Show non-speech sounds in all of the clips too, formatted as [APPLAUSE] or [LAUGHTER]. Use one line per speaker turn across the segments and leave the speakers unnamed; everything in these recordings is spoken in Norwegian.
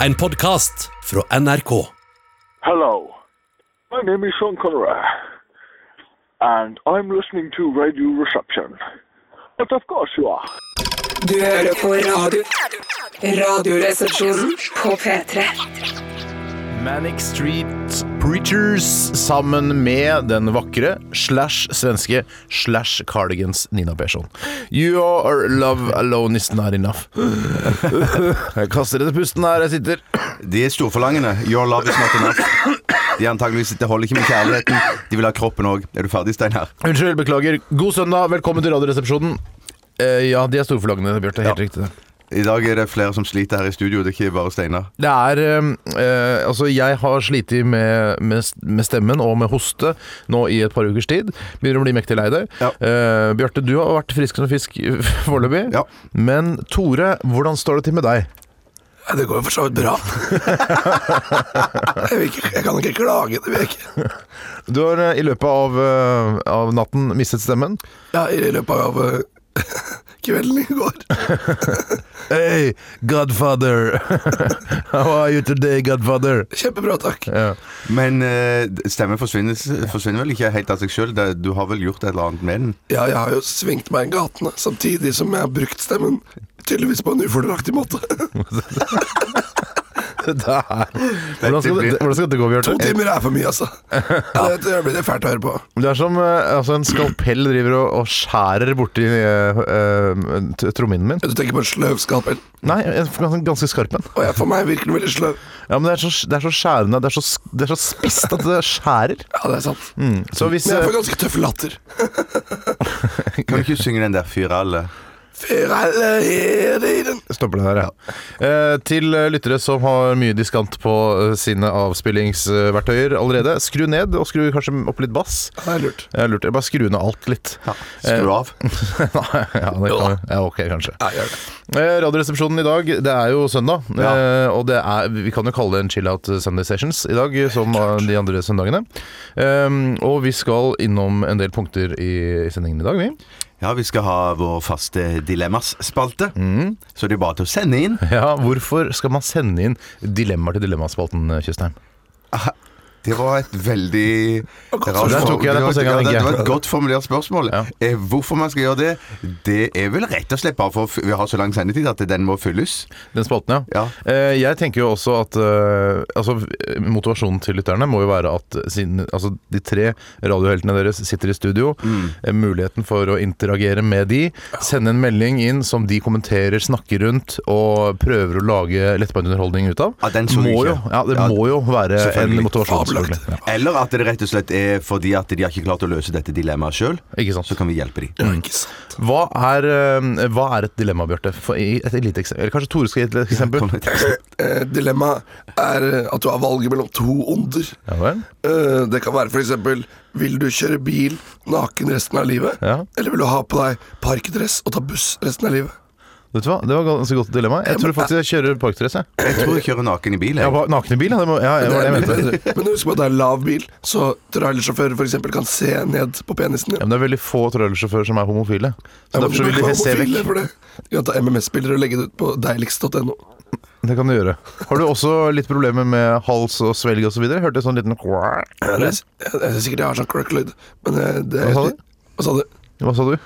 En podcast fra NRK
Hello, my name is Sean Conrad, and I'm listening to Radio Reception. But of course you are.
Du hører på radio. Radioresepsjonen på P3.
Manic Street Preachers sammen med den vakre slash svenske slash Cardigans Nina Persson. You are love alone is not enough. Jeg kaster etter pusten her jeg sitter.
De er storforlangende. Your love is not enough. De er antageligvis, det holder ikke med kjærligheten. De vil ha kroppen òg. Er du ferdig, Steinar?
Unnskyld, beklager. God søndag, velkommen til Radioresepsjonen. Eh, ja, de er storforlagene, Bjarte. Helt
Ja.
riktig. det.
I dag er det flere som sliter her i studio. Det er ikke bare Steinar.
Det er eh, eh, Altså, jeg har slitt med, med, med stemmen og med hoste nå i et par ukers tid. Begynner å bli mektig lei deg.
Ja.
Eh, Bjarte, du har vært frisk som fisk [LAUGHS] foreløpig.
Ja.
Men Tore, hvordan står det til med deg?
Ja, det går jo for så vidt bra. jeg, vil ikke, jeg kan ikke klage, det vil jeg ikke.
Du har eh, i løpet av, eh, av natten mistet stemmen.
Ja, I løpet av eh, [LAUGHS] kvelden i går.
Hey, Godfather! [LAUGHS] How are you today, Godfather?
Kjempebra, takk.
Ja.
Men eh, stemmen forsvinner, forsvinner vel ikke helt av seg sjøl? Du har vel gjort et eller annet med den?
Ja, jeg har jo svingt meg i gatene, samtidig som jeg har brukt stemmen. Tydeligvis på en ufordelaktig måte.
[LAUGHS] Det er. Hvordan, skal det,
blir-
hvordan skal det gå,
To
Bjarte?
timer er for mye, altså. Ja, det, det blir det fælt å høre på.
Det er som eh, altså en skalpell driver og, og skjærer borti uh, trommehinnen min.
Du tenker på en sløv skalpell.
Nei, en ganske, ganske skarp en.
Og jeg, for meg virker den veldig sløv.
Ja, men det er så, det er så skjærende, det er så, sk- det er så spisst at det skjærer.
Ja, det er sant. Men
Mm. Så hvis
jeg
eh,
får ganske tøff latter.
Kan du ikke synge den der fyralle?
Ferelle er det i den.
Stopper det der, ja. Eh, til eh, lyttere som har mye diskant på eh, sine avspillingsverktøyer allerede, skru ned, og skru kanskje opp litt bass.
Ja, det er lurt.
Jeg lurte, bare skru ned alt litt.
Skru av.
[LAUGHS] Nei, ja, det kan vi. Ja, ok, kanskje.
Ja, gjør det.
Eh, Radioresepsjonen i dag, det er jo søndag.
Ja.
eh, Og det er, vi kan jo kalle det en chill-out Sunday Sessions i dag, som eh, de andre søndagene. Ehm, og vi skal innom en del punkter i, i sendingen i dag, vi.
Ja, vi skal ha vår faste dilemmas-spalte. Så det er bare til å sende inn.
Ja, hvorfor skal man sende inn dilemmaer til Dilemmaspalten, eh, Tjøstheim?
Det var et veldig
godt
rart
spørsmål.
Der tok jeg deg på
det var-
senga,
ja, det-
tenker jeg.
det var et godt formulert spørsmål.
Ja.
Eh, Hvorfor man skal gjøre det, det er vel rett og slett bare for vi har så lang sendetid at den må fylles.
Den spalten, ja.
Ja.
Eh, jeg tenker jo også at eh, altså, Motivasjonen til lytterne må jo være at siden, altså, de tre radioheltene deres sitter i studio.
Mm.
Eh, muligheten for å interagere med de. Sende en melding inn som de kommenterer, snakker rundt og prøver å lage lettbeint underholdning ut av.
Ja, den så jeg
må
ikke.
jo, ja, det
Ja,
må jo være en
selvfølgelig.
motivasjon. selvfølgelig.
Fabelaktig.
Ja.
Eller at det rett og slett er fordi at de har ikke klart å løse dette dilemmaet sjøl.
Ikke sant.
Så kan vi hjelpe de.
Ja, ikke sant.
Hva, er, eh, hva er et dilemma, Bjarte? For- i- Et lite eksempel. Eller kanskje Tore skal gi et lite eksempel?
Kom med et-
Eh, Dilemmaet er eh, at du har valget mellom to onder.
Ja vel?
Eh, Det kan være f.eks.: Vil du kjøre bil naken resten av livet?
Ja.
Eller vil du ha på deg parkdress og ta buss resten av livet?
Vet du hva? Det var et ganske godt dilemma. Jeg tror faktisk jeg kjører parkdress. jeg.
Jeg tror jeg kjører naken i bil.
Ja,
Jeg.
hva- naken i bil, ja. Det, må, ja, det var det jeg mente.
Men men husk på at det er lav bil, så trailersjåfører f.eks. kan se ned på penisen
Ja, men
din.
Det er veldig få trailersjåfører som er homofile. Så
Ja, men
derfor så
du
vil
kan
de
ikke
se
være homofile [LAUGHS]
vekk.
for det. Du kan ta MMS-bilder og legge det ut på deiligst.no.
Det kan du gjøre. Har du også litt problemer med hals og svelg osv.? Hørte jeg sånn liten Hva
Jeg jeg- jeg er sikkert jeg har sånn crook-lyd, men eh,
Hva
det
sa du?
Hva sa du?
Mm. sa du?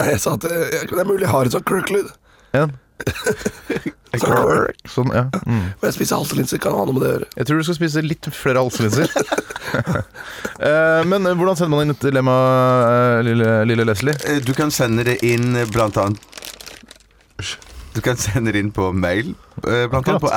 Nei, Jeg sa at eh, jeg- det er mulig jeg har et sånn crook-lyd.
En?
Sånn crook.
Sånn, ja. Mm.
Og jeg spiser halselinser, kan ha noe med det å gjøre.
Jeg tror du skal spise litt flere
[LAUGHS]
halslinser. Eh, Men eh, hvordan sender man inn et dilemma, eh, lille, lille Leslie?
Eh, Du kan sende det inn eh, blant annet Du kan sende det inn på mail, eh, blant annet på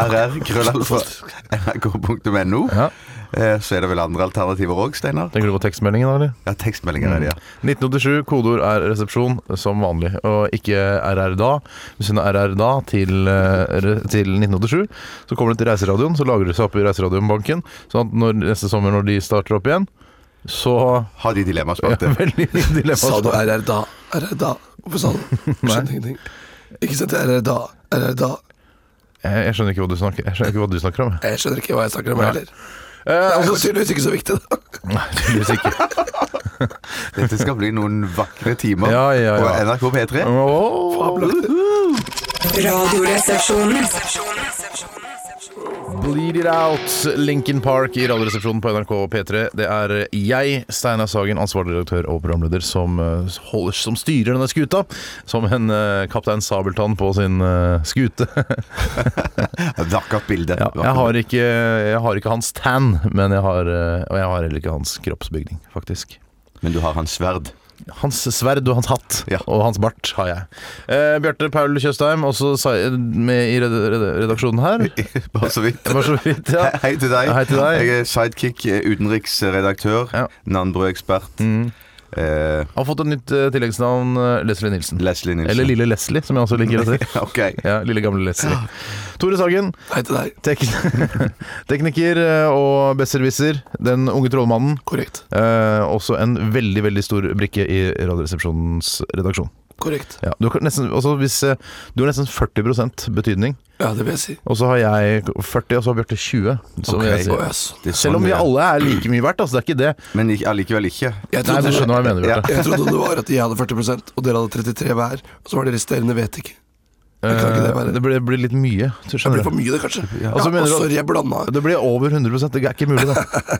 rr.krøllalfa.nrk.no.
Ja.
Eh, Så er det vel andre alternativer òg, Steinar?
Tenker du på tekstmeldingen, da? eller?
Ja, tekstmeldinger er det, ja.
Mm. 1987, kodeord er resepsjon som vanlig, og ikke RR da. Du sender RR da til, eh, re- til 1987, så kommer det til Reiseradioen, så lager det seg opp i Reiseradioen-banken, sånn at når, neste sommer når de starter opp igjen, så [LAUGHS]
Har de
ja,
dilemmaspalte?
Veldig dilemma.
Sa du RR da? RR da? Hvorfor sa du
[LAUGHS]
det? Jeg skjønte ingenting. Ikke send til RR da. RR da.
Jeg, jeg skjønner ikke hva du snakker, jeg skjønner ikke hva du snakker om.
Jeg skjønner ikke hva jeg snakker om, jeg heller.
Eh,
Det er tydeligvis ikke så viktig, da. [LAUGHS]
nei, tydeligvis ikke.
Dette skal bli noen vakre timer
Ja, ja, ja.
på NRK P3.
Åh.
Radioresepsjonen
Bleed It Out, Lincoln Park i Radioresepsjonen på NRK P3. Det er jeg, Steinar Sagen, ansvarlig redaktør og programleder, som, eh, holder, som styrer denne skuta. Som en eh, kaptein Sabeltann på sin eh, skute.
Vakkert bilde.
Ja, [LAUGHS] jeg, har ikke, jeg har ikke hans tan, men jeg har, eh, og jeg har heller ikke hans kroppsbygning, faktisk.
Men du har hans sverd. [LAUGHS]
Hans sverd og hans hatt
Ja.
og hans bart har jeg. Eh, Bjarte Paul Tjøstheim, også sa- med i red red redaksjonen her.
Bare så vidt.
Bare så vidt, ja.
Hei til deg.
Hei til deg.
Jeg er sidekick, eh, utenriksredaktør,
Ja. Mm.
Nanbrød-ekspert. Eh,
Har fått et nytt eh, tilleggsnavn, eh, Leslie Nilsen.
Leslie Nilsen.
Eller Lille Leslie, som jeg også liker å si.
[LAUGHS]
[LAUGHS] Ok.
Ja, lille gamle Leslie.
Ah.
Tore Sagen,
Hei til deg.
tek
[LAUGHS]
tekniker eh, og besserwisser. Den unge trollmannen.
Korrekt.
Eh, også en veldig veldig stor brikke i Radioresepsjonens redaksjon.
Korrekt.
Ja, du, har nesten, altså hvis, eh, du har nesten 40 betydning,
Ja, det vil jeg si.
og så har jeg 40, og så har Bjarte 20. som
Ok.
jeg
Å,
sier.
ja, sånn.
Det er
Selv om
sånn
vi
det er.
alle er like mye verdt, altså det er ikke det.
Men ikke- allikevel ikke.
Jeg
Nei, men
trodde,
Du skjønner hva jeg mener, Bjarte.
jeg trodde det var at jeg hadde 40 og dere hadde 33 hver. Og så var det resterende vet ikke. Jeg kan ikke det
Eh,
være.
Det blir, blir litt mye. Du
Det blir
skjønner.
for mye, det, kanskje. Ja,
Altså, mener
og
du at-
sorry, jeg blanda.
Det blir over 100 det er ikke mulig,
[LAUGHS]
det.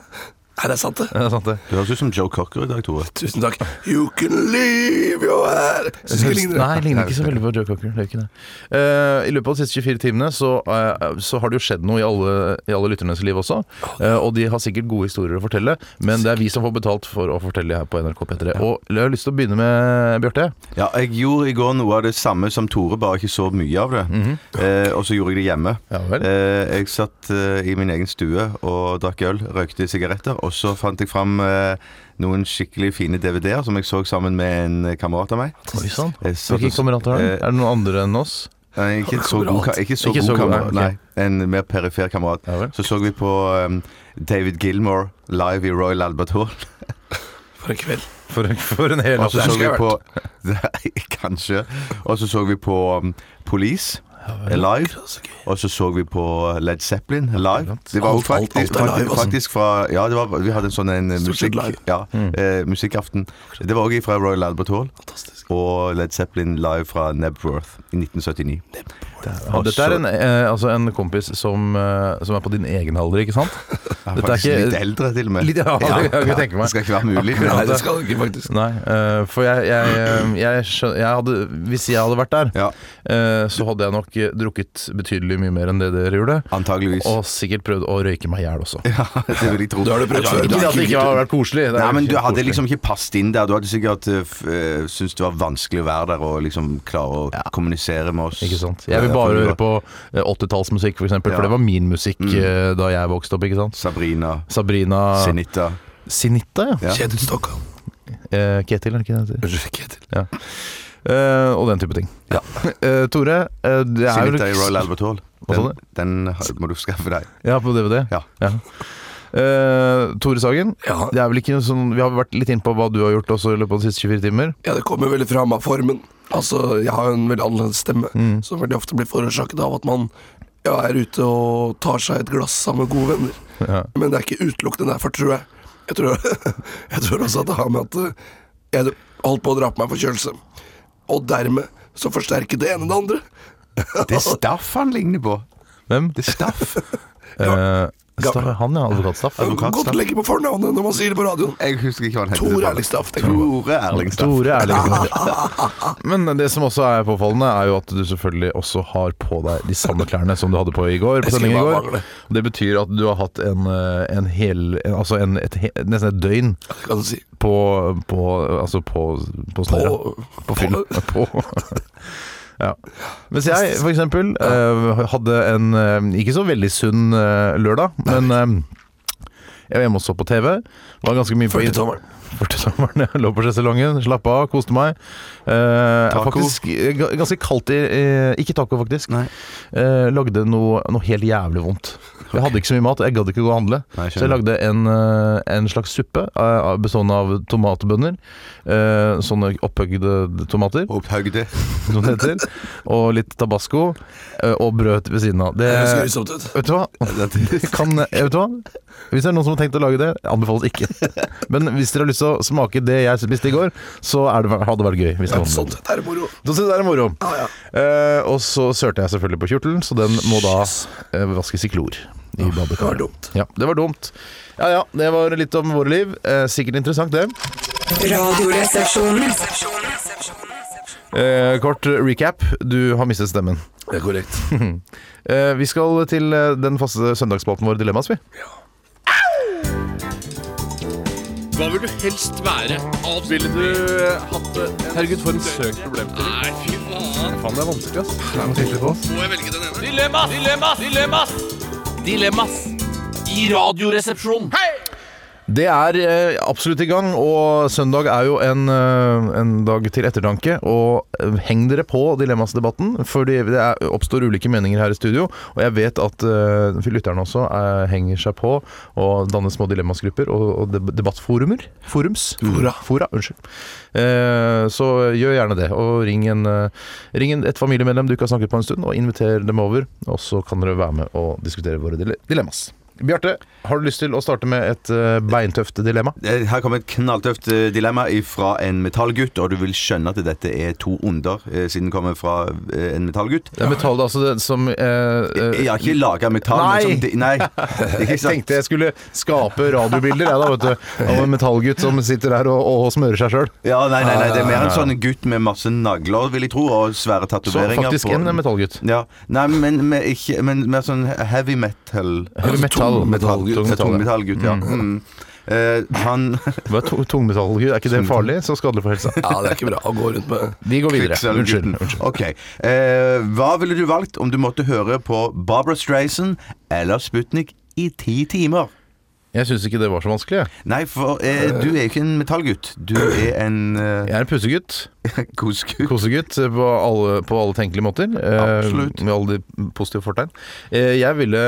Er det sant, det?
det er sant, det.
Du høres ut som Joe Cocker i dag, Tore.
Tusen takk. You can leave your hair. Syns ikke det ligner
Nei,
det.
ligner ikke så veldig på Joe Cocker. Det gjør ikke det. Eh, I løpet av de siste 24 timene så, eh, så har det jo skjedd noe i alle, i alle lytternes liv også. Eh, og de har sikkert gode historier å fortelle, men det er vi som får betalt for å fortelle her på NRK P3. Og jeg har lyst til å begynne med Bjarte.
Ja, jeg gjorde i går noe av det samme som Tore, bare ikke så mye av det. eh, og så gjorde jeg det hjemme.
Mhm. Ja vel.
Eh, jeg satt eh, i min egen stue og drakk øl, røykte sigaretter, og så fant jeg fram eh, noen skikkelig fine DVD-er som jeg så sammen med en kamerat av meg.
Oi sann.
Jeg satt
Hvilke
og-
kamerater har du?
Eh,
Er det noen andre enn oss?
Nei, Eh, ikke så god, ka- ikke så
Ikke så
god
god,
kamerat.
nei,
Nei, en mer perifer kamerat.
Ja vel.
Så så vi på um, David Gilmore live i Royal Albert Hall.
For en kveld.
For, for en hel
Og så
natt.
Altså, så
skulle
vi
jeg
på [LAUGHS] Nei, Kanskje. Og så så vi på um, Police eh, live. Og så så vi på Led Zeppelin live. Det var jo
Alt- alt-
faktisk,
alt er
faktisk,
live, altså.
faktisk fra Ja, det var, vi hadde en sånn en eh,
Stort sett
musikk,
live.
ja,
Mm.
eh, musikkaften. Det var òg fra Royal Albert Hall.
Fantastisk.
Og Led Zeppelin live fra Nebworth i 1979.
Ja, dette er en, eh, altså en kompis som, eh, som er på din egen alder, ikke sant?
Ja,
Dette er
faktisk
ikke-
litt eldre, til og med.
Litt- [LAUGHS] ja, det kan jeg tenke meg.
Det skal ikke være mulig.
Akkurat.
Nei, det skal det ikke, faktisk.
Nei, eh, for jeg, jeg, eh, jeg, skjøn- jeg hadde, Hvis jeg hadde vært der,
Ja.
eh, så hadde jeg nok eh, drukket betydelig mye mer enn det dere gjorde.
Antageligvis.
Og sikkert prøvd å røyke meg i hjel også.
Ja, [LAUGHS] det vil jeg tro.
Du har det prøvd
Ja,
før.
du
Ikke
har
det at det ikke hadde vært koselig. det er
Nei, men
ikke
du hadde
koselig.
liksom ikke passet inn der. Du hadde sikkert eh, f- eh, syntes det var vanskelig å være der og liksom klare å kommunisere med oss.
ikke sant? Jeg vil bare høre på eh, 80-tallsmusikk, for eksempel,
Ja.
for det var min musikk eh, da jeg vokste opp. ikke sant?
Sabrina,
Sabrina
Sinita
Sinitta, ja.
Ja.
Kjetil Stokkan.
Eh, Ketil, er det ikke det? det heter?
Unnskyld, Kjetil.
Eh, og den type ting. Eh, Tore, eh, det er jo
Sinita i Royal Albert Hall.
Hva sa
Den, den har- må du skaffe deg.
Ja, på DVD? [LAUGHS]
Ja.
Eh, Tore Sagen,
Ja.
det er vel ikke sånn, vi har vært litt inn på hva du har gjort også i løpet av de siste 24 timer.
Ja, det kommer veldig fram av formen. Altså, jeg har jo en veldig annerledes stemme, som veldig ofte blir forårsaket av at man ja, er ute og tar seg et glass sammen med gode venner. Men det er ikke utelukkende derfor, tror jeg. Jeg tror, [LAUGHS] jeg tror også at det har med at eh, jeg holdt på å dra på meg forkjølelse. Og dermed så forsterket det ene det andre.
Det er Staff han ligner på.
Hvem?
Det er Staff.
Eh, Staff, han, ja. Advokatstaff.
Man kan godt
Advokatstaff.
legge på fornavnet når man sier det på radioen.
[LAUGHS] Jeg husker ikke hva han heter.
Tor Erlingstaff. det kan-
Tore Erlingstad.
Tore Erlingsen.
[LAUGHS]
Men det som også er påfallende, er jo at du selvfølgelig også har på deg de samme klærne som du hadde på i går. På
skulle
sendingen i
bare
går.
mangle.
Det betyr at du har hatt en, eh, en hel en, Altså en, et, he- nesten et døgn
Det kan du si.
på På, altså på, på snøra.
På,
På fyll. [LAUGHS] På. Ja. Mens jeg for eksempel eh, hadde en eh, ikke så veldig sunn eh, lørdag, men eh, jeg var hjemme og så på TV. Var ganske mye på
40-tommeren.
[LAUGHS] 40-tommeren. Jeg lå på sjeselongen, slappa av, koste meg. Eh,
Taco.
Faktisk eh, ga- ganske kaldt i eh, Ikke taco, faktisk.
Nei.
Eh, lagde noe, noe helt jævlig vondt. Jeg hadde ikke så mye mat, jeg gadd ikke gå og handle.
Nei,
så jeg
skjønner.
lagde en, eh, en slags suppe eh, bestående av tomatbønner. eh, Sånne opphøgde tomater,
Opphøgde.
som det heter. Og litt tabasco. eh, Og brød ved siden av. Det,
Det høres grusomt ut.
vet du hva? Kan, jeg vet du hva? Hvis det er noen som har tenkt å lage det, anbefales ikke. Men hvis dere har lyst til å smake det jeg spiste i går, så er det, hadde det vært gøy. Hvis det
Ja,
var
sånn
noe.
sett er det moro.
Så synes jeg det er moro.
Ja, ja.
Eh, og så sørte jeg selvfølgelig på kjortelen, så den må da eh, vaskes i klor. I
Det var
badekaret.
dumt.
Ja, det var dumt. Ja ja, det var litt om våre liv. Eh, sikkert interessant, det.
Radioresepsjonen.
Eh, kort recap. Du har mistet stemmen.
Det er korrekt.
[LAUGHS] Eh, vi skal til eh, den faste søndagsspalten vår, Dilemmas, vi.
Hva vil du helst være? Ville du
eh,
hatt det? Herregud, for en søk problem til. Nei, fy faen.
Faen, det er vanskelig, ass.
Må jeg velge den ene? Dilemmas! Dilemmas! Dilemmas! Dilemmas! I radioresepsjonen.
Det er eh, absolutt i gang, og søndag er jo en, eh, en dag til ettertanke. Og eh, heng dere på dilemmasdebatten, for det er, oppstår ulike meninger her i studio. Og jeg vet at eh, lytterne også eh, henger seg på og danner små dilemmasgrupper og, og deb- debattforumer. Forums. Fora. unnskyld. Eh, så gjør gjerne det, og ring, en, eh, ring en, et familiemedlem du ikke har snakket på en stund, og inviter dem over. Og så kan dere være med og diskutere våre dile- dilemmas. Bjarte, har du lyst til å starte med et eh, beintøft dilemma?
Eh, Her kommer et knalltøft eh, dilemma fra en metallgutt, og du vil skjønne at dette er to onder, eh, siden det kommer fra eh, en metallgutt.
Det er metall, altså det, som eh, eh,
Jeg har ikke laga metall,
Nei!
men som de,
[LAUGHS]
Nei! Ikke
Jeg
sant?
tenkte jeg skulle skape radiobilder jeg da, vet du, av en metallgutt som sitter der og, og smører seg sjøl.
Ja, nei, nei, nei, det er mer en sånn gutt med masse nagler, vil jeg tro, og
Ah.
svære
Så
tatoveringer.
faktisk
på-
en metallgutt.
Ja. Nei, men, men, ikke, men mer sånn heavy metal.
Eller metall.
tung
metall,
metallgutt.
tung metall, ja.
Tungmetallgutt, ja. Mm. Eh, han
Hva er tung- Tungmetallgutt, er ikke det farlig? Så skadelig for helsa.
Ja, det er ikke bra å gå rundt med
Vi går
[LAUGHS]
videre. Unnskyld.
Kvikksølvgutten.
unnskyld.
Ok. Eh, hva ville du valgt om du måtte høre på Barbara Streisand eller Sputnik i ti timer?
Jeg syns ikke det var så vanskelig. jeg.
Nei, for eh, du er jo ikke en metallgutt. Du er en eh, [LAUGHS]
Jeg er en pussegutt.
kosegutt.
Kosegutt eh, på alle, på alle tenkelige måter. eh,
Absolutt.
Med alle de positive fortegn. Eh, Jeg ville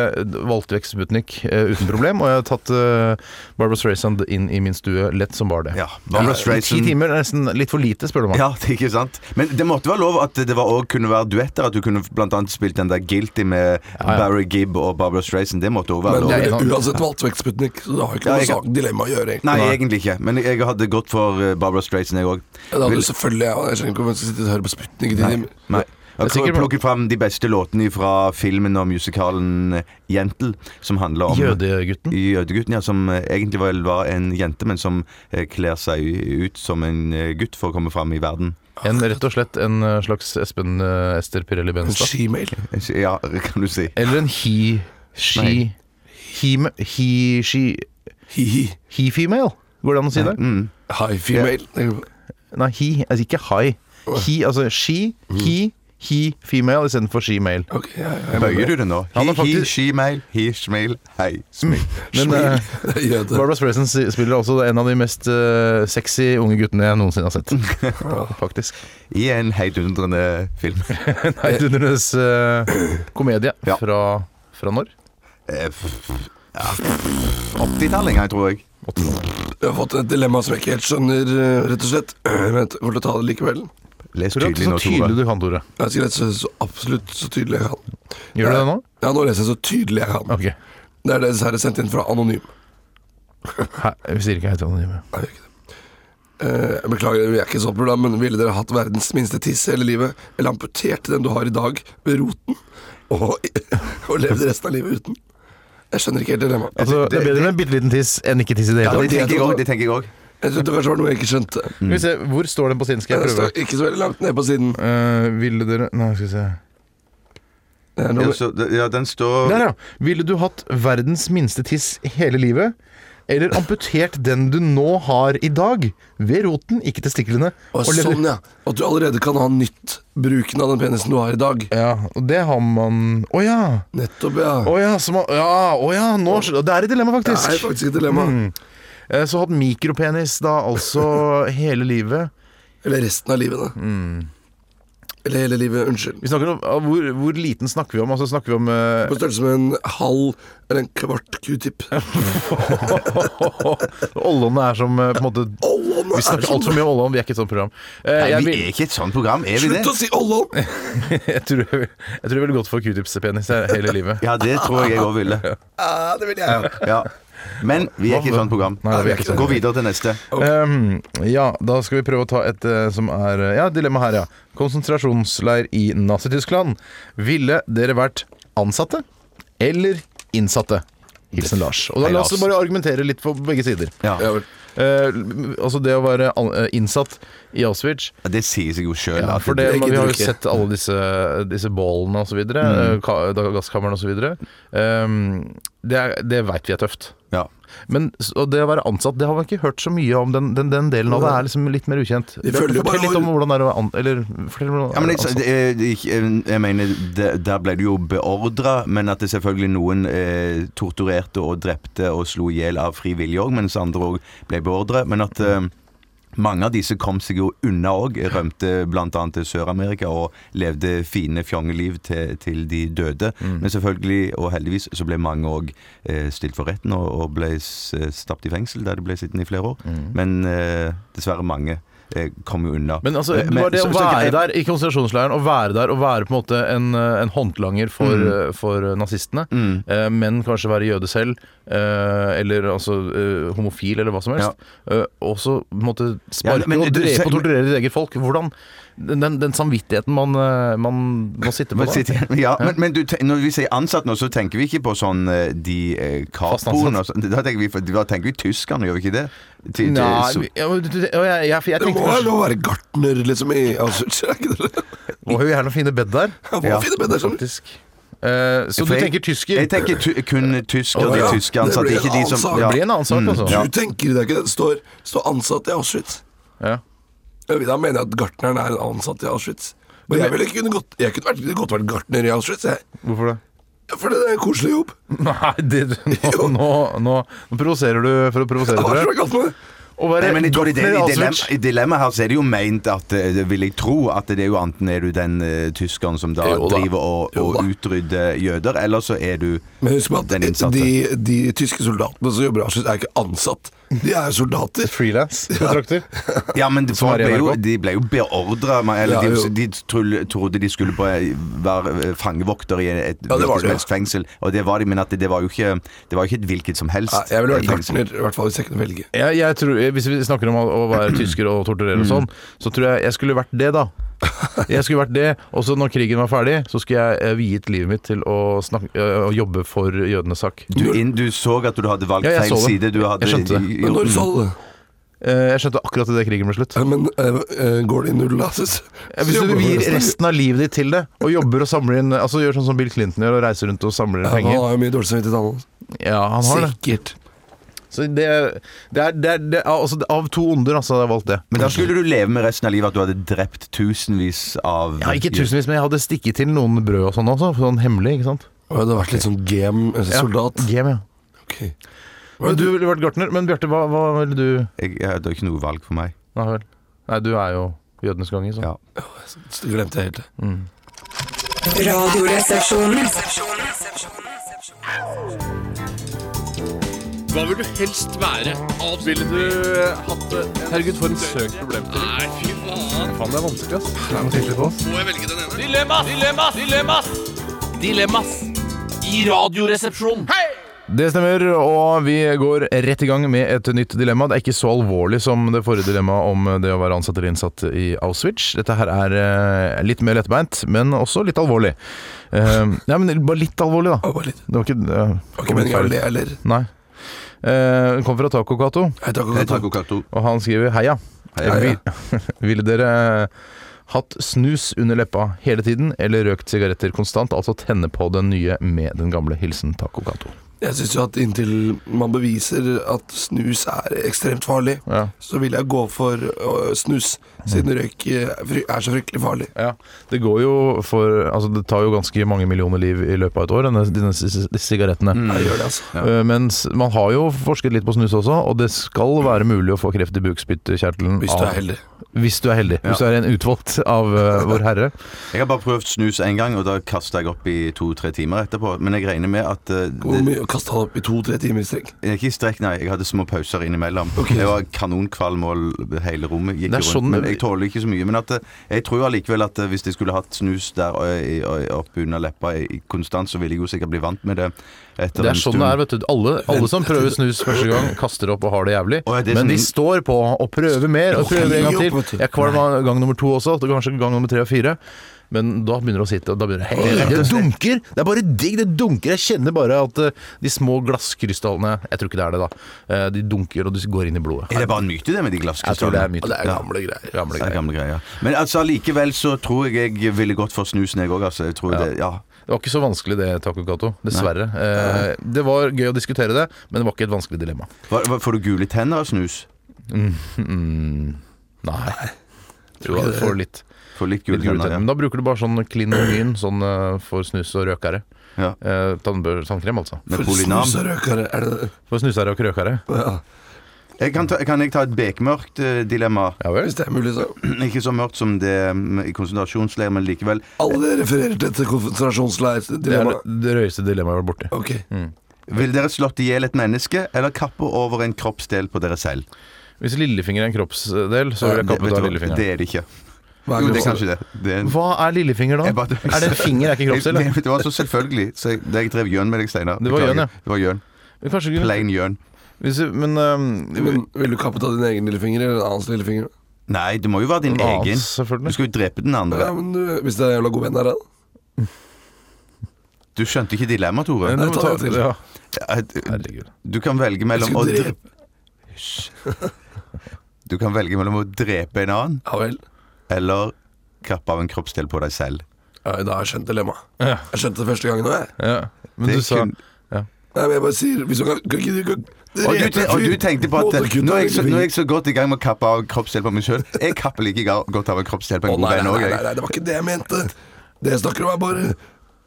valgt vekk Sputnik eh, uten problem, og jeg har tatt eh, Barbara Streisand inn i min stue lett som bare det. Eh,
Ja, Barbra
Ti
Streisand.
timer er nesten litt for lite, spør du meg.
Ja, det er ikke sant. Men det måtte være lov at det var også kunne være duetter. At du kunne blant annet spilt den der Guilty med Barry Gibb og Barbara Streisand. Det måtte også være
Men
lov.
det
jeg-
er jo uansett valgt vekk Sputnik, så det har jo ikke
Ja,
noe
jeg-
sak dilemma å gjøre. egentlig.
Nei, egentlig ikke. Men jeg hadde gått for eh, Barbara Streisand, jeg òg.
Det hadde jo selvfølgelig jeg. Jeg skjønner ikke om jeg skal sitte og høre på Sputnik i ti timer.
Nei. Jeg
sikkert
har
bra.
plukket fram de beste låtene fra filmen og musikalen eh, Jentel, som handler om
Jødegutten.
Jødegutten, ja, som eh, egentlig vel var en jente, men som eh, kler seg ut som en eh, gutt for å komme fram i verden.
En, rett og slett en eh, slags Espen eh, Ester Pirelli
En
Benstad.
skimail.
Eh, Ja, [LAUGHS] kan du si.
Eller en he... She...
Nei.
Hime... He... She...
Hi-hi.
He-female? Går det an å si det?
Mm.
Hi, female.
Nei, he, altså ikke high. He, altså she, he, he, female istedenfor she, male.
Ok, ja, ja, jeg
Bøyer du det nå?
Han
He,
har
he,
faktisk-
she, mail, he, smil, hei, smil.
Men eh,
[LAUGHS] bare- Jøde.
Barbara Streisand si- spiller altså en av de mest eh, sexy unge guttene jeg noensinne har sett. Faktisk.
I en heidundrende
[LAUGHS]
film.
Nei, Dundernes eh, komedie
Ja.
fra, fra når?
Eh, f- ja, 80-tallet en gang, tror jeg.
Jeg har fått et dilemma som jeg ikke helt skjønner, eh, rett og slett. [CLEARS THROAT] Vent, jeg kommer til å ta det likevel.
Les
Tror du
tydelig
så
nå,
tydelig
Tore.
du kan, Tore?
Jeg skal lese så absolutt så tydelig jeg kan.
Gjør du det nå?
Ja, nå leser jeg så tydelig jeg kan.
Ok.
Det er det dessverre sendt inn fra Anonym.
Hei, vi sier ikke hei til anonyme.
Nei, jeg gjør ikke det. Eh, jeg beklager, vi er ikke et sånt program, men ville dere hatt verdens minste tiss i hele livet, eller amputert den du har i dag, ved roten, og, [LAUGHS] og levd resten av livet uten? Jeg skjønner ikke helt dilemmaet.
Altså, det er bedre med en bitte liten tiss enn ikke tiss i det
Ja,
hele
det
tatt.
tenker jeg også, det tenker jeg òg.
Jeg trodde det kanskje var noe jeg ikke skjønte.
Skal vi se, Hvor står den på siden? Skal
Det
jeg prøve?
står ikke så veldig langt ned på siden.
Eh, ville dere Nei, skal vi se.
Det er
Ja,
noe,
så- ja, den står
Der, ja. Ville du hatt verdens minste tiss hele livet? Eller amputert den du nå har i dag, ved roten, ikke testiklene.
og
lever-
sånn, ja. At du allerede kan ha nytt bruken av den penisen du har i dag.
ja, og det har man Å ja!
Nettopp, ja.
Å ja, så man... ja, å ja nå... skjø- Det er et dilemma,
Det
faktisk.
er faktisk et dilemma.
Eh, Så hatt mikropenis da altså [LAUGHS] hele livet.
Eller resten av livet, da. Eller hele livet, unnskyld.
Vi snakker om, ah, hvor, hvor liten snakker vi om? Altså snakker vi om eh, [LAUGHS]
På størrelse med en halv eller en kvart q-tip.
Ollånene er som eh, på en måte
Ollånene
Vi
er sånn
snakker
som-
altfor mye om Ollån, vi er ikke et sånt program. Eh,
Nei,
jeg,
vi
vil-
er ikke et sånt program, er vi det?
Slutt å si Ollon!
jeg, tror, jeg, vil- [LAUGHS] jeg tror jeg ville gått for q-tips-penis eh, hele livet.
Ja, det tror jeg jeg òg ville.
Ja, det vil jeg.
Ja. Men vi er ikke et sånt program.
Nei, vi er ikke sånn.
Gå videre til neste.
Um, ja, da skal vi prøve å ta et eh, som er eh, Ja, dilemma her, ja. Konsentrasjonsleir i Nazi-Tyskland. Ville dere vært ansatte eller innsatte? Hilsen Lars. Og da
Hei,
La oss
Lars.
bare argumentere litt for begge sider.
Ja.
Ja vel.
Eh, altså det å være an- eh, innsatt i Auschwich
Det sier seg jo sjøl.
ja, for det,
det
Vi
gidder
har
du
jo
ikke.
sett alle disse, disse bålene osv. eh, Gasskamrene osv. ehm, Det, er- det veit vi er tøft.
ja.
Men s- og det å være ansatt, det har man ikke hørt så mye om. Den, den, den delen av det er liksom litt mer ukjent.
Vi føler jo bare
Fortell litt om hvordan det er å være an... Eller fortell om hvordan
Ja, men jeg,
det er å være ansatt.
jeg, jeg, jeg mener, det, der ble du jo beordra, men at det selvfølgelig noen eh, torturerte og drepte og slo i hjel av fri vilje òg, mens andre òg ble beordra. Men at eh, mange av disse kom seg jo unna òg. Rømte bl.a. til Sør-Amerika og levde fine fjongeliv til, til de døde.
Mm.
Men selvfølgelig, og heldigvis, så ble mange òg eh, stilt for retten og, og ble s- stappet i fengsel, der de ble sittende i flere år. Men eh, dessverre mange. eh, Kom jo unna.
Mm. Men altså,
Eh,
det var det
så-
å
så-
være der i konsentrasjonsleiren, å være der og være på en måte en, eh, en håndlanger for, eh, for nazistene, eh, men kanskje være jøde selv, eh, eller altså eh, homofil, eller hva som helst, eh, og så på en måte
Ja,
sparke
men-
og
du-
drepe
selv-
og torturere ditt eget folk. Hvordan Den, den, den samvittigheten man, eh, man må sitte på
Men
da.
sitter- Ja, men, men du, te- når vi sier ansatt nå, så tenker vi ikke på sånn eh, de eh,
Fast
kapoen og sånn. Da tenker vi, da tenker vi tyskerne, gjør vi ikke det? Til- til-
Nei,
så-
vi- ja, men du- du- jeg, jeg, jeg, jeg
Det
tenkte
må
kanskje
jo lov å være gartner, liksom, i Auschwitz, er ikke det?
Å, hun er noen fine bed der.
Han må
Ja.
finne sånn? bedre som
Faktisk. Eh, så
For
du
jeg-
tenker tysker?
Jeg tenker tu, kun tysker,
Å,
de
ja.
tyske
Det
ansatte.
blir
Ikke de
en
som ja. Mm.
annen
Det blir en annen sak, altså.
Ja.
Du tenker, det er ikke det. Det står, står ansatt i Auschwitz.
Ja.
Jeg vil da mener jeg at gartneren er en ansatt i Auschwitz. Men jeg ville ikke kunne godt, jeg kunne vært, kunne godt vært gartner i Auschwitz, jeg.
Hvorfor det?
For det er en koselig jobb.
Nei, det, nå,
Jo.
nå, nå, nå provoserer du for å provosere,
Jeg har
tror
så
jeg.
godt med det.
Å være altså,
Nei, men jeg tror det,
gartner i
i,
Auschwitz.
dilemma, I dilemmaet her så er det jo meint at eh, det vil jeg tro at det er jo enten er du den eh, tyskeren som da,
Jo da.
driver og,
Jo da.
og utrydder jøder, eller så er du
Men husk på
den
at
innsatte.
de, de tyske soldatene som jobber i Auschwitz, er ikke ansatt. De er jo soldater. [LAUGHS]
Freelance-kontrakter.
Ja, men
Som
folk
er i
ble jo,
NRK.
de ble jo beordra Eller
Ja,
de,
jo.
de trull, trodde de skulle på, være eh, fangevokter i et
var
hvilket
det,
som helst fengsel. Og det var de, men at det, det var jo ikke Det var jo ikke et hvilket som helst
Nei, jeg ville vært
fengsel.
gartner, i hvert fall hvis jeg kunne velge.
Jeg, jeg tror, eh, hvis vi snakker om å å være tysker og torturere og sånn, så tror jeg jeg skulle vært det, da. Jeg skulle vært det, og så når krigen var ferdig, så skulle jeg eh, viet livet mitt til å, snakke, eh, å jobbe for jødenes sak.
Du, inn, du så at du hadde valgt
Ja, jeg
feil
så det.
side. Du hadde,
Jeg skjønte det.
gjort-
Men når sa du det?
Eh, Jeg skjønte akkurat idet krigen ble slutt.
Ja, Men eh, eh, går det i null, da? Hvis
Ja, Hvis du gir resten av livet ditt til det, og jobber og samler inn Altså gjør sånn som Bill Clinton gjør, og reiser rundt og samler inn
Ja, Han
penger.
har jo mye dårlig samvittighet, han også.
Ja, han har det.
Sikkert.
Så det, det er, det er, det er altså, Av to onder, altså, hadde jeg valgt det.
Men da skulle du leve med resten av livet at du hadde drept tusenvis av
ja, ikke tusenvis, men jeg hadde stikket til noen brød og sånn også. Sånn hemmelig, ikke sant.
Og jeg hadde vært litt sånn game-soldat.
Ja, game, ja.
Ok.
Men du ville vært gartner. Men Bjarte, hva, hva ville du
Jeg, jeg hadde ikke noe valg for meg.
Nei vel. Nei, du er jo jødenes konge, så.
Ja.
Så glemte jeg helt
Mm.
det.
Radioresepsjonen.
Hva vil du helst være? Avsnitt.
Ville du eh, hatt det? Herregud, for en søkt problem.
Nei, fy faen.
Faen, det er vanskelig, ass.
Må jeg velge den ene? Dilemmas! Dilemmas! Dilemmas! Dilemmas i Radioresepsjonen. Hei!
Det stemmer, og vi går rett i gang med et nytt dilemma. Det er ikke så alvorlig som det forrige dilemmaet om det å være ansatt eller innsatt i Auschwitz. Dette her er eh, litt mer lettbeint, men også litt alvorlig. Eh, Nei, men bare litt alvorlig, da.
Det var litt.
Det var ikke eh,
Det var ikke meningen å le heller.
Nei. Eh, Den kom fra Taco Cato,
Hei, takk og
Jeg
takk.
tar kokato.
og han skriver heia.
Heia.
Vi- Ville dere hatt snus under leppa hele tiden, eller røkt sigaretter konstant? Altså tenne på den nye med den gamle. Hilsen Taco Cato.
Jeg syns jo at inntil man beviser at snus er ekstremt farlig,
Ja. Mm.
så vil jeg gå for øh, snus, siden røyk eh, fry- er så fryktelig farlig.
Ja, det går jo for Altså det tar jo ganske mange millioner liv i løpet av et år, denne, denne si- si- sigarettene.
Jeg gjør det, altså.
Eh, Mens man har jo forsket litt på snus også, og det skal være mulig å få kreft i bukspyttkjertelen
Hvis du er heldig.
Hvis du er heldig. Hvis du er en utvalgt av eh, Vår Herre.
Jeg har bare prøvd snus én gang, og da kasta jeg opp i to-tre timer etterpå. Men jeg regner med at eh,
Hvor
det,
mye å kaste han opp i to-tre timer i strekk?
Eh, Ikke i strekk, nei. Jeg hadde små pauser innimellom. Jeg var kanonkvalm og hele rommet gikk
Det er
rundt.
sånn-
Men jeg tåler ikke så mye. Men at, eh, jeg tror allikevel at eh, hvis jeg skulle hatt snus der og, og, opp under leppa i- i konstant, så ville jeg jo sikkert bli vant med det. Etter
Det
en
er sånn
stund.
det er, vet du. Alle, alle som prøver snus første gang, kaster opp og har det jævlig.
Å, ja, det er
Men
sånn-
de står på og prøver mer og prøver en gang
Gi opp, vet
til. Jeg
du.
er kvalm av gang nummer to også, og kanskje gang nummer tre og fire. Men da begynner det å sitte. og Da begynner det, hei, det dunker! Det er bare digg, det dunker! Jeg kjenner bare at eh, de små glasskrystallene Jeg tror ikke det er det, da. Eh, De dunker, og de går inn i blodet.
Er det bare en myte, det med de
Jeg tror det
glasskrystallene?
er myte.
Det er gamle greier.
Gamle
Det er
greier.
gamle greier. Men altså, allikevel så tror jeg jeg ville gått for snusen, jeg òg. Altså. Jeg tror det, ja.
Det var ikke så vanskelig det, Taco Kato. Dessverre. Eh, Det var gøy å diskutere det, men det var ikke et vanskelig dilemma.
Hva, hva, får du gule tenner av snus?
Nei. Tror jeg får litt
Får litt gule
Litt gule
tenner,
tenner. Men
ja.
da bruker du bare sånn klinogen sånn eh, for snus og røkere.
ja.
Eh, tannbør, tannkrem, altså.
Med
For
polinam.
snus og røkere, er det
For snusere og krøkere.
ja.
Jeg kan, ta, kan jeg ta et bekmørkt eh, dilemma?
Ja vel?
Hvis det er mulig, så.
Ikke så mørkt som det mm, i konsentrasjonsleir, men likevel.
Alle dere refererer til dette
Det er
konsentrasjonsleir-dilemmaet.
det det røyeste dilemmaet jeg har vært borti.
Ok.
Mm. Vil dere slått i hjel et menneske, eller kappe over en kroppsdel på dere selv?
Hvis lillefinger er en kroppsdel, så vil jeg
vet
kappe
du
ut av
hva?
lillefingeren.
det er det ikke.
Hva
Jo,
er
det er
det?
kanskje det. det er en...
Hva er lillefinger, da?
Jeg bare-
Er det en finger, er ikke kroppsdel?
Jeg-
da?
[LAUGHS] Det var så selvfølgelig. Så jeg, det jeg drev gjøn med deg, Steinar.
Det var gjøn,
Beklager.
ja.
Det var gjøn.
Men Kanskje ikke
Plain gjøn.
hvis, Men eh,
Men Vil du kappe av din egen lillefinger eller en annens lillefinger?
Nei, det må jo være din
En annen,
egen.
selvfølgelig.
Du skal jo drepe den
Ja,
andre.
men du, Hvis det er jævla god venn her, da?
Du skjønte ikke dilemmaet, Tore.
men
Nei,
ta-
ta en til.
ja.
At- eh,
Herregud.
Du kan velge mellom
Skal
å
du
dre-
drepe?
[LAUGHS] Du kan velge mellom å drepe en annen,
Ja vel.
eller kappe av en kroppsdel på deg selv.
Ja, da har jeg skjønt dilemmaet.
Ja.
Jeg skjønte det første gangen òg, jeg.
ja. Men
Det
du sa
kun-
Nei, men jeg bare sier Hvis du kan, kan ikke du kan,
Og du, te- og du tenkte på at eh,
Måte å kutte
nå er, jeg så,
av
nå er jeg så godt i gang med å kappe av kroppsdel på meg sjøl. Jeg kapper like ga- godt av en kroppsdel på
Å,
en god
nei,
venn
nei,
òg,
nei, nei,
jeg.
det var ikke det jeg mente. Det jeg snakker om, er bare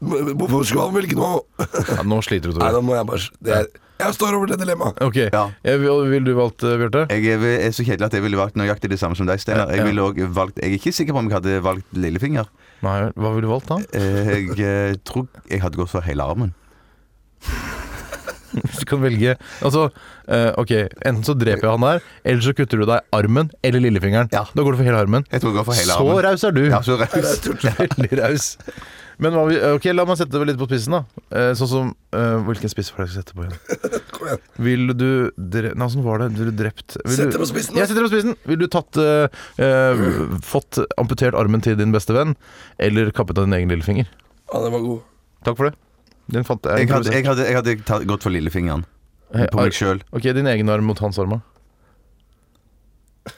Men Hvorfor skulle han
[LAUGHS]
velge noe?
ja, Nå sliter du,
Nei,
Tore.
nå må jeg bare det er, Jeg står over det dilemmaet.
Ok.
Ja.
Jeg vil, vil du valgt, eh, Bjarte?
Jeg er, er så kjedelig at jeg ville valgt nøyaktig det samme som deg, Steinar. Jeg, ville også valgt- jeg er ikke sikker på om jeg hadde valgt lillefinger.
Nei, hva ville du valgt da?
Eh, Jeg eh, tror jeg hadde gått for hele armen.
Hvis du kan velge Altså, eh, ok, enten så dreper jeg han der, eller så kutter du deg armen eller lillefingeren.
Ja.
Da går du for hele armen.
Jeg tror jeg går for hele
Så
armen.
raus er du!
Ja, så
[LAUGHS]
raus.
[LAUGHS] Veldig raus. Men hva vi, ok, la meg sette det litt på spissen, da. Eh, sånn som eh, Hvilken spiss var det jeg skulle sette på igjen?
Kom igjen.
Vil du dre... Nei, åssen var det? Ville du drept vil
Sett
du-
det på spissen, da.
Jeg setter det på spissen! Vil du tatt eh, eh, Fått amputert armen til din beste venn, eller kappet av din egen lillefinger?
Ja, den var god.
Takk for det. Den fant jeg.
Jeg hadde, jeg hadde, jeg hadde tatt, gått for lillefingeren. På meg sjøl.
Ok, din egen arm mot hans arm. da.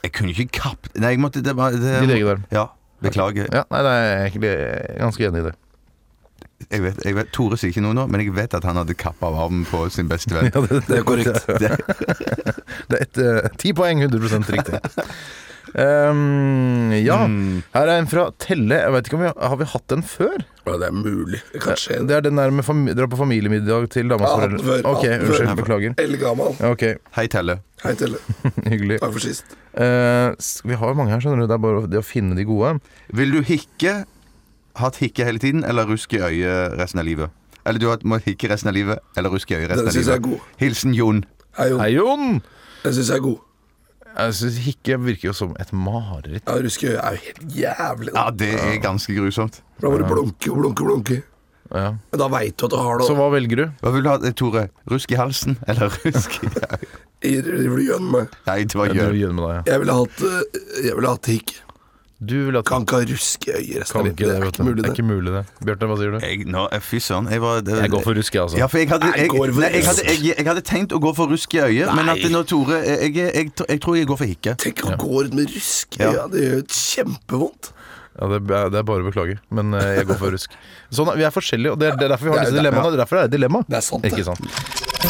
Jeg kunne ikke kappe Nei, jeg måtte det, var- det,
Din egen arm.
Ja. Beklager.
Ja, nei, nei, jeg er egentlig ganske enig i det.
Jeg vet, jeg vet, Tore sier ikke noe nå, men jeg vet at han hadde kappa av armen på sin beste
[LAUGHS]
venn.
[LAUGHS] Det er korrekt.
Det er et, eh, 10 poeng, 100 riktig. [LAUGHS] Ehm, ja,
Mm.
her er en fra Telle. Jeg vet ikke om vi har, har vi hatt den før?
Ja, det er mulig. Det kan skje.
Det er den der med fami dra på familiemiddag til damas
Ja, hatt den
foreldre.
før,
Ok,
hatt den
unnskyld.
før.
Beklager.
Eldgammel.
Ja, Ok, [LAUGHS]
Hei, Telle.
Hei, Telle.
hyggelig.
Takk for sist.
Eh, s- vi har jo mange her, skjønner du. Det er bare å- det å finne de gode.
Vil du hikke, hatt hikke hele tiden, eller rusk i øyet resten av livet? Eller du har- må hikke resten av livet, eller rusk i øyet resten
Den
av
synes jeg er
livet?
god.
Hilsen Jon.
Hei, Jon.
Hei, Jon!
Den syns jeg er god.
Jeg synes hikke virker jo som et mareritt.
Ja, Ruske øye er jo helt jævlig. Da
Ja, det er ganske grusomt.
Da må du blunke og blunke og blunke.
Ja.
Men Da veit du at du har det.
Så
Så
hva velger du?
Hva vil du ha, eh, Tore? Rusk i halsen, eller [LAUGHS] rusk i øyet?
driver du gjønn med.
Nei, det var
Jeg driver
gjøn.
gjøn med deg, ja.
Jeg ville hatt, eh, jeg ville hatt hikk.
Du vil at
Kan ikke ha ruske øye resten
Kan
av
ikke
livet. Det er
vet du.
ikke mulig,
Det er
det.
ikke mulig, det. Bjarte, hva sier du?
Jeg, nå, eh, fy søren. Jeg, var, det,
Jeg går for ruske, altså.
Ja, for jeg hadde, jeg,
Jeg går for
nei, jeg, hadde,
rusk.
jeg, jeg hadde tenkt å gå for rusk i øyet, men at nå, Tore jeg, jeg, jeg, tr- jeg tror jeg går for hikke.
Tenk å gå rundt med ruske
Ja.
øye. Det gjør jo kjempevondt.
Ja, det, er- det er bare å beklage, men eh, jeg går for rusk. Sånn, Vi er forskjellige, og det er det er derfor vi har disse dilemmaene. og Det er derfor det er et dilemma.
Det er sant, det.
Ikke sant?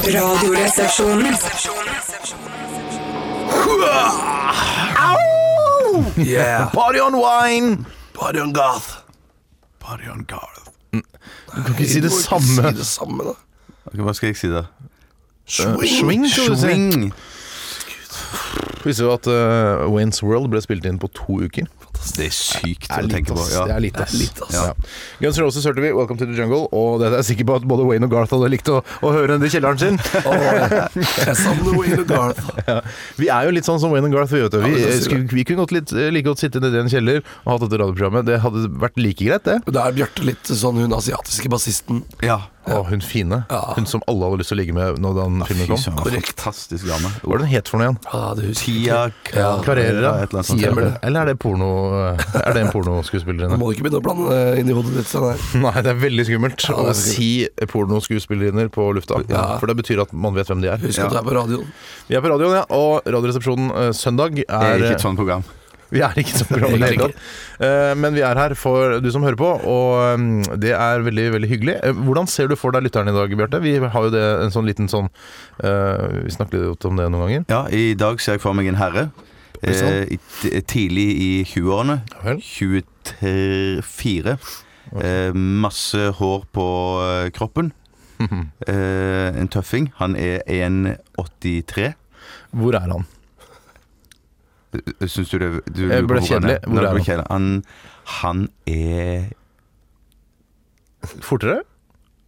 Radioresepsjonen.
Yeah.
Party on wine!
Party on goth.
Party on guard.
Du kan ikke si det
Du må ikke
samme.
Si det samme, da.
Ok, hva skal jeg si, da?
Swing, skal du si.
Swing.
Visste du at eh, Wayne's World ble spilt inn på to uker?
Det er sykt
Det
å
er litt,
tenke på.
ass.
Ja.
Det er litt, ass.
Det er litt, ass.
Ja. Guns N' Roses hørte vi, 'Welcome to the Jungle', og det er jeg sikker på at både Wayne og Garth hadde likt å, å høre enn i kjelleren sin.
Jeg savner Wayne Garth.
[LAUGHS] Ja. Vi er jo litt sånn som Wayne og Garth. Vi, vet, du. vi,
Ja, det er
skulle, vi kunne godt litt, eh, like godt sitte nede i en kjeller og hatt dette radioprogrammet. Det hadde vært like greit, det.
Da er Bjarte litt sånn hun asiatiske bassisten.
Ja.
Å, hun fine.
Ja.
Hun som alle hadde lyst til å ligge med når den filmen
Fy
kom.
søren,
Korrekt.
fantastisk dame.
Hva var det den het for noe igjen?
Ja, det husker jeg.
Tia
Ja.
Klarera?
et eller annet sånt.
Eller er det porno Er det en
Nå
pornoskuespillerinne?
må du ikke begynne å blande det inn i hodet ditt. Sånn her.
[LAUGHS] Nei, det er veldig skummelt
det er
å
veldig
si pornoskuespillerinner på lufta.
Ja.
For det betyr at man vet hvem de er.
Husk at du er på radioen.
Vi er på radioen, ja, og Radioresepsjonen eh, søndag
Det
er
er ikke sånn. et sånt program.
[LAUGHS] Vi er ikke så program i det hele tatt. Eh, Men vi er her for du som hører på, og mm, det er veldig veldig hyggelig. Eh, Hvordan ser du for deg lytteren i dag, Bjarte? Vi har jo det en sånn liten sånn eh, Vi snakket litt om det noen ganger.
Ja, i dag ser jeg for meg en herre.
sant?
Eh, i t- tidlig i 20-årene.
vel.
24. Eh, masse hår på eh,
[LAUGHS]
kroppen. Eh, en tøffing. Han er 1,83.
Hvor er han?
Eh, Syns du det du
Jeg
lurer på
Eh, ble
hvor han er?
kjedelig. Hvor
Nei,
er
du ble
han?
kjedelig. Han, han er
Fortere?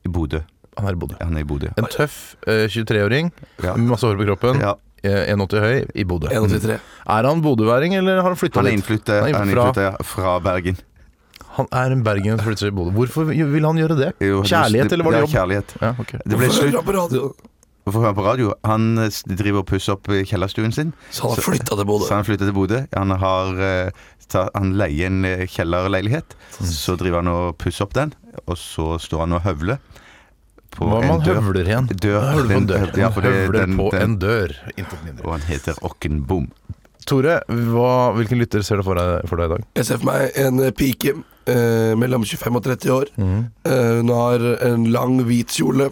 i Bodø.
Han er i Bodø.
Han er i Bodø.
En tøff eh, 23-åring
Ja.
med masse hår på kroppen.
Ja.
eh, 1,80 høy i Bodø. Mm.
183.
Er han bodøværing, eller har han flytta
Han er
dit?
innflytter,
Han er
han er
fra-
innflytter fra Bergen.
Han er en bergener som flytter til Bodø. Hvorfor vil han gjøre det?
Jo, det-
Kjærlighet, eller var det
ja,
jobb?
Kjærlighet.
Ja, ok.
Det ble
Hvorfor
slutt
er du på radioen?
Hvorfor hører han på radio. Han eh, s- driver og pusser opp eh, kjellerstuen sin.
Så han har flytta
Så
til Bodø.
han flytter til Bodø. Han, har, eh, ta, han leier en eh, kjellerleilighet.
Mm.
Så driver han og pusser opp den, og så står han og høvler på
Hva om
en
han
dør.
høvler igjen?
Dør.
Han høvler på en
Den-
dør.
ja,
Han
for det-
høvler
den-
på
den-
en dør. Intet mindre.
Og han heter Okkenbom.
Tore, hva, hvilken lytter ser du for deg, for deg i dag?
Jeg ser for meg en eh, pike eh, mellom 25 og 30 år. Eh, hun har en lang, hvit kjole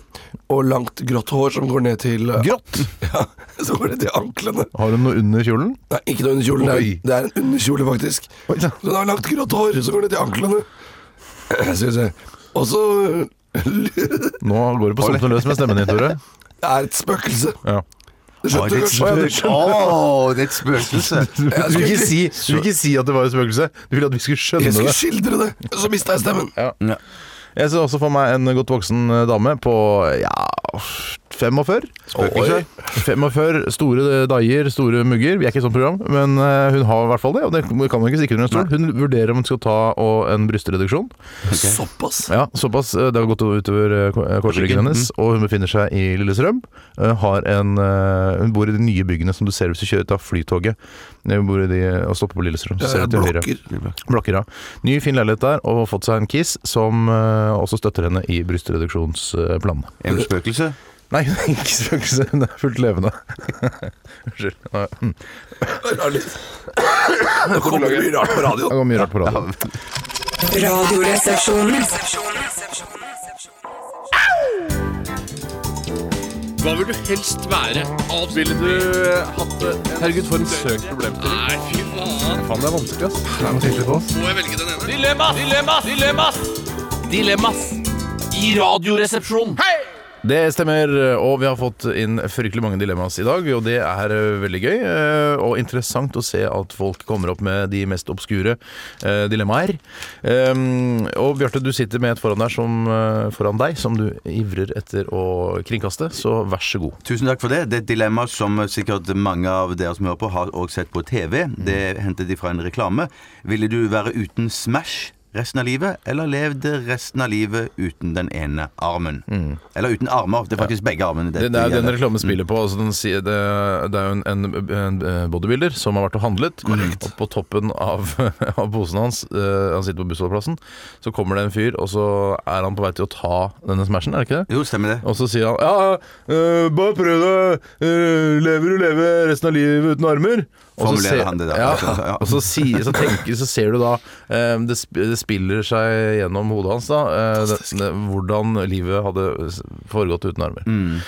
og langt, grått hår som går ned til eh,
Grått!
[LAUGHS] Ja, som går ned til anklene.
Har hun noe under kjolen?
Nei, ikke noe under kjolen. Det
Oi.
er, det er en underkjole, faktisk.
Oi, da.
Så hun har langt, grått hår som går ned til anklene. [CLEARS THROAT] Synes jeg. Og så eh,
Nå går det på sumpene løs med stemmen din,
[LAUGHS]
Tore.
Det er et spøkelse.
Ja.
Det skjønte du kanskje?
Å, det er et spøkelse! [LAUGHS]
Du vil ikke si, du vil ikke si at det var et spøkelse. Du ville at vi skulle
Jeg
skjønne
skulle
det.
skildre det, så mista jeg stemmen.
Ja.
Jeg ser også for meg en godt voksen eh, dame på ja 45.
Spøkelse.
Oi. 45, store eh, daier, store mugger. Vi er ikke et sånt program, men eh, hun har i hvert fall det. Og det kan man ikke stikke under en stol. Hun vurderer om hun skal ta og en brystreduksjon.
Såpass.
Ja, såpass. Eh, Det har gått utover eh, ko- eh, korsryggen hennes, og hun befinner seg i Lillestrøm. Eh, Har en, eh, hun bor i de nye byggene som du ser hvis du kjører ut av Flytoget. Eh, Hun bor i de, og stopper på Lillestrøm. Så ser
Jeg
du til høyre.
blokker.
Blokker, ja. Ny, fin leilighet der, og fått seg en kiss som eh, også støtter henne i brystreduksjonsplanene.
Er hun et spøkelse?
Nei, [LAUGHS] hun er ikke spøkelse, hun er fullt levende. [LAUGHS] Unnskyld. Nei, mm.
Nå kommer det mye rart på radioen.
Det går mye rart på radioen.
Radioresepsjonen.
Hva vil du helst være?
Ville du hatt det Herregud, for en søkt problemstilling.
Nei, fy faen.
Faen, det er vanskelig, ass.
Må jeg velge den ene? Dilemmas! Dilemmas! Dilemmas! Dilemmas i Radioresepsjonen. Hei!
Det stemmer, og vi har fått inn fryktelig mange dilemmas i dag, og det er eh, veldig gøy. eh, Og interessant å se at folk kommer opp med de mest obskure eh, dilemmaer. Um, Og Bjarte, du sitter med et foran, der som, eh, foran deg som du ivrer etter å kringkaste, så vær så god.
Tusen takk for det. Det er et dilemma som sikkert mange av dere som hører på, har også sett på TV.
Mm.
Det hentet de fra en reklame. Ville du være uten Smash resten av livet, eller levd resten av livet uten den ene armen? Eller uten armer. Det er faktisk begge armene.
Det, det er jo Mm. den
gjelder.
reklamen spiller på. Altså den, sier- det, det er jo en, en, en eh, bodybuilder som har vært og handlet. Og på toppen av, [LAUGHS] av posen hans, eh, han sitter på bussholdeplassen, så kommer det en fyr, og så er han på vei til å ta denne smashen, er det ikke det?
Jo, stemmer det.
Og så sier han Ja, eh, bare prøv det. Eh, lever du leve resten av livet uten armer? Og så
Formulerer
ser-
han det der,
Ja,
altså, [LAUGHS] ja.
og så, sier, så, tenker, så ser du da eh, det, sp det spiller seg gjennom hodet hans, da. eh, det, det, hvordan livet hadde s- foregått uten armer.
Mm.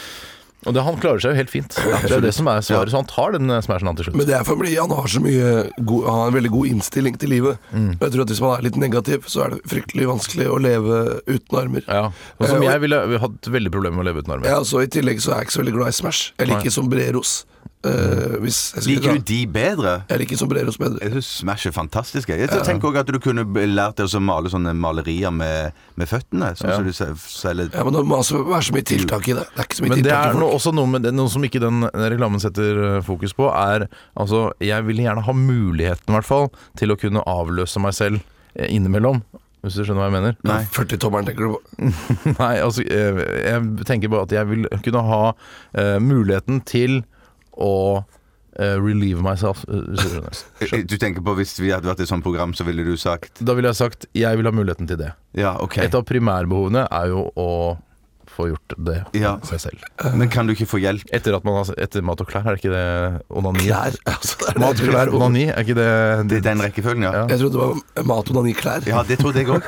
Og det, han klarer seg jo helt fint. Det er det som er svaret. Så han tar den eh, smashen han til slutt.
Men det er for fordi han har så mye god, Han har en veldig god innstilling til livet.
Mm.
Og jeg tror at Hvis man er litt negativ, så er det fryktelig vanskelig å leve uten armer.
Ja. Og som
Eh, og-
jeg ville hatt veldig problemer med å leve uten armer.
Ja, altså, I tillegg så er jeg ikke så veldig glad i Smash. Jeg liker sombreros.
Mm.
Eh, hvis jeg skulle
Liker du
dra-
de bedre?
Jeg liker sombreros bedre.
Jeg synes Smash er fantastisk. Jeg Jeg tenker også at du kunne b- lært deg å male sånne malerier med, med føttene. Sånn som du sel- selger
Ja, men det må altså være så mye tiltak i det. Det er ikke så mye
Men det
tiltak i
er
folk.
noe, også noe med det, noe som ikke den reklamen setter eh, fokus på, er altså Jeg ville gjerne ha muligheten, i hvert fall, til å kunne avløse meg selv eh, innimellom. Hvis du skjønner hva jeg mener?
Nei.
40-tommeren, tenker du
[LAUGHS]
på.
Nei, altså eh, Jeg tenker bare at jeg vil kunne ha eh, muligheten til å eh, relieve myself. eh, hvis du skjønner.
Du tenker på hvis vi hadde vært i sånt program, så ville du sagt
Da ville jeg sagt jeg vil ha muligheten til det.
Ja, OK.
Et av primærbehovene er jo å få gjort det
Ja.
for seg selv.
Men kan du ikke få hjelp?
Etter, at man har, etter mat og klær, er det ikke det onani?
Klær. [LAUGHS] Altså, det er det.
Mat, klær, onani, er ikke det,
Det er den rekkefølgen, ja.
Jeg trodde det var mat, onani, klær.
Ja, det trodde jeg
[LAUGHS]
òg.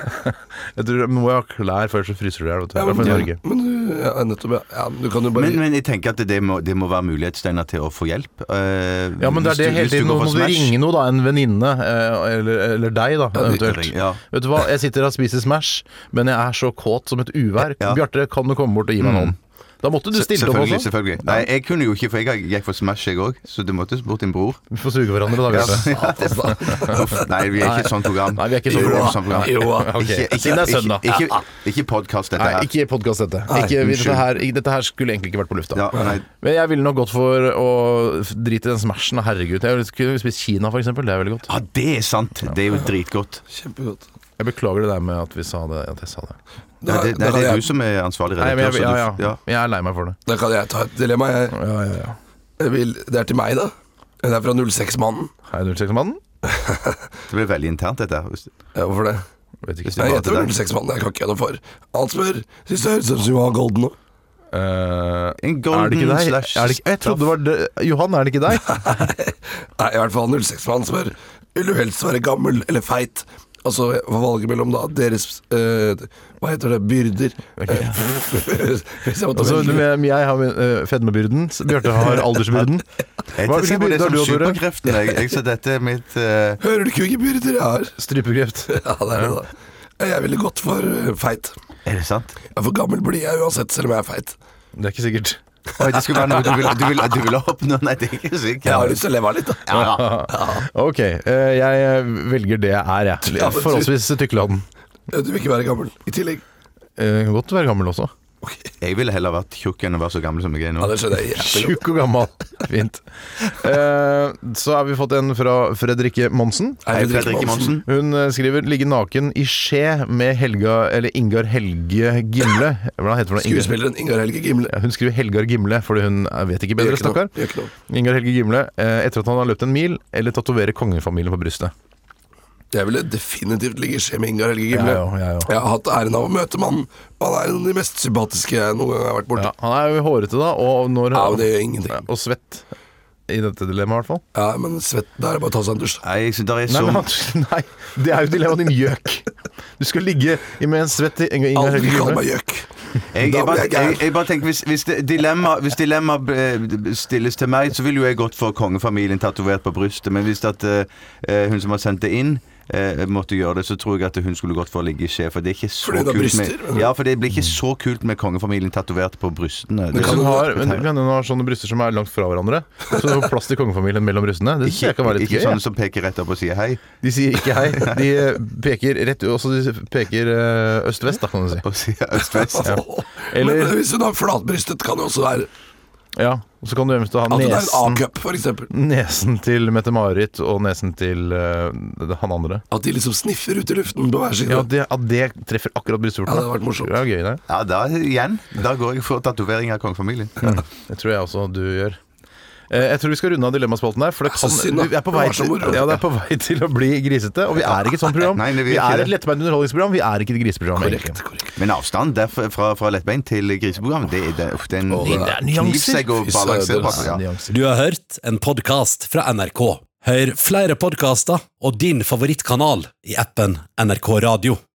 Jeg tror du må jo ha klær, før så fryser du i hjel. vet du. Det er
men,
derfor i Norge.
men du, ja, nettopp, ja. ja. men Du kan jo bare
Men,
[LAUGHS]
men jeg tenker at det må, det må være mulighetstegner til å få hjelp. eh,
Ja, men det er
hvis
det
du-
hele
hvis du
tiden.
går
Nå
for
må du
Smash.
ringe noe, da. En venninne. eh, Eller, eller deg, da, eventuelt.
Ja.
Vet du hva, jeg sitter her og spiser Smash, men jeg er så kåt som et uvær.
Ja.
Bjarte, kan du komme bort og gi meg en hånd? Da måtte du stille opp
Selvfølgelig.
også.
selvfølgelig Nei, jeg kunne jo ikke, for jeg gikk for Smash, jeg òg. Så du måtte bort til
[LAUGHS]
en bror.
Vi får suge hverandre, da, Bjarte.
Ja, det var- Uff, Nei, vi er ikke et sånt program.
Nei, vi er ikke et sånt
Jo,
program.
sånt program.
Jo, ok.
Ikke, ikke,
Siden det er søndag.
Ikke, ikke, ikke podkast, dette
Nei,
her.
ikke podkast dette. Ikke, vi- dette, her, ikke- dette her skulle egentlig ikke vært på lufta.
Ja, nei.
Men jeg ville nok gått for å f- drite i den Smashen. Herregud. Jeg skulle spist Kina, for eksempel. Det er veldig godt.
Ja, det er sant. Det er jo dritgodt.
Kjempegodt.
Jeg beklager det der med at vi sa det, at jeg sa det.
Da,
Nei, det,
da,
nei,
kan
det er du
jeg,
som er ansvarlig
Nei, men
redaktør.
jeg,
så
ja,
du-
ja.
ja.
jeg er lei meg for det.
da kan jeg ta et dilemma. Jeg,
Ja, ja, ja.
jeg vil, det er til meg, da. Det er fra 06-mannen.
Hei, 06-mannen.
Det blir veldig internt, dette. her. Hvis-
Ja, Hvorfor det?
Vet ikke.
Hvis
Jeg
bare til
heter vel
deg.
06-mannen, jeg kan ikke gjøre noe for. Han spør Syns det høres ut som du har golden nå.
Eh, er
En
det
golden
ikke deg?
slash
Er det ikke, jeg trodde det var det- Johan, er det [LAUGHS] ikke deg?
[LAUGHS] Nei, i hvert fall 06-mannen spør Vil du helst være gammel eller feit? Altså, jeg får valget mellom da deres eh, Hva heter det? Byrder. Eh, [LAUGHS] Hvis jeg måtte
Altså, du,
velge.
jeg, jeg har eh, fedmebyrden, så Bjarte har aldersbyrden.
Jeg
Hva-
tenker
hvilken
på det
byrde har
som
du, Tore?
superkreften. Jeg, jeg så dette er mitt eh,
Hører du ikke hvilke byrder jeg har?
Strypekreft. [LAUGHS]
Ja, det er det, da. Jeg ville gått for eh, feit.
Er det sant?
Ja, For gammel blir jeg uansett, selv om jeg er feit.
Det er ikke sikkert.
Oi, det skulle være noe du ville, du ville, du ville oppnå? Nei, det er ikke sikkert.
[LAUGHS] Jeg har lyst til å leve av litt, da.
Ok, eh, jeg velger det jeg er, jeg.
Ja, men du-
Forholdsvis tykkeladen.
Du vil ikke være gammel i tillegg.
Eh, Kan godt være gammel også.
Jeg ville heller vært tjukk enn å være så gammel som jeg er nå.
Ja, det skjønner jeg hjertelig godt.
Tjukk og [LAUGHS] gammel. Fint. Eh, så har vi fått en fra Fredrikke Monsen.
Hei, Fredrik Monsen.
Hun eh, skriver 'ligge naken i skje med Helga eller Ingar Helge Gimle'. Hva heter hun? Ingar-
Skuespilleren Ingar Helge Gimle.
Ja, hun skriver Helgar Gimle, fordi hun eh, vet ikke bedre,
Gjør ikke noe,
stakkar.
gjør ikke noe.
Ingar Helge Gimle, eh, etter at han har løpt en mil, eller tatovere kongefamilien på brystet.
Jeg ville definitivt ligge i skje med Ingar Helge Gimle.
Jeg òg, jeg òg.
Jeg har hatt æren av å møte mannen. og Han er en av de mest sympatiske jeg noen gang har vært borti.
Ja, han er jo hårete da, og, når,
Ja, men det gjør ingenting.
og svett. I dette dilemmaet, i hvert fall.
Ja, men svett, da er det bare å ta seg en dusj.
Nei, jeg synes der er
Nei,
så
men, han- [LAUGHS] nei, det er jo dilemmaet din, gjøk. Du skal ligge i- med en svett i- Ingar Helge
Aldri kall
Gimle.
meg gjøk.
jeg,
Da
jeg, bare,
blir jeg gæren.
jeg, jeg bare tenker Hvis, hvis det- dilemma, hvis dilemma eh, stilles til meg, så ville jo jeg gått for kongefamilien tatovert på brystet. Men hvis at, eh, eh, hun som har sendt det inn, eh, måtte gjøre det, så tror jeg at hun skulle gått for å ligge i skje. For det er ikke så
Fordi det er
kult
bryster?
med Ja, for det blir ikke så kult med kongefamilien tatovert på brystene. Det
Hvis
er
hun
så-
har, men det kan hende hun har sånne bryster som er langt fra hverandre. Så hun har plass til kongefamilien mellom brystene. Det synes jeg kan være litt
ikke
gøy. jeg.
sånne som peker rett opp og sier hei. [LAUGHS]
De sier ikke hei. De eh, peker rett også de peker eh, øst-vest, da, kan du si.
Og sier øst-vest.
Eller-
[LAUGHS] Men hvis hun har flatbrystet, kan det også være
Ja, og så kan du eventuelt ha
at hun er en
nesen,
A-cup, f.eks.
nesen til Mette-Marit og nesen til eh, det- han andre.
At de liksom sniffer ut i luften på hver side.
Ja, det, at det treffer akkurat brystvortene.
Ja, det hadde vært morsomt.
Det er gøy, det.
Ja, da igjen. Da går jeg for tatovering av kongefamilien.
Det tror jeg også du gjør. Eh, Jeg tror vi skal runde av dilemmaspalten her. For det
Det er
kan,
så synd, da.
vi er på
Det
vei
var så
til,
moro.
ja, det er på vei til å bli grisete, og vi er ikke et sånt program.
Nei, det
vi
vi ikke
er
det.
et lettbeint underholdningsprogram, vi er ikke et griseprogram.
Korrekt,
egentlig.
korrekt.
[LAUGHS] Men avstand derfra, fra, fra lettbein til griseprogram, det, er- det, uff, det er en
det er nyanser.
knivsegg å
Fy
balansere
søren,
på.
ass.
Ja.
Du har hørt en podkast fra NRK. Hør flere podkaster og din favorittkanal i appen NRK Radio.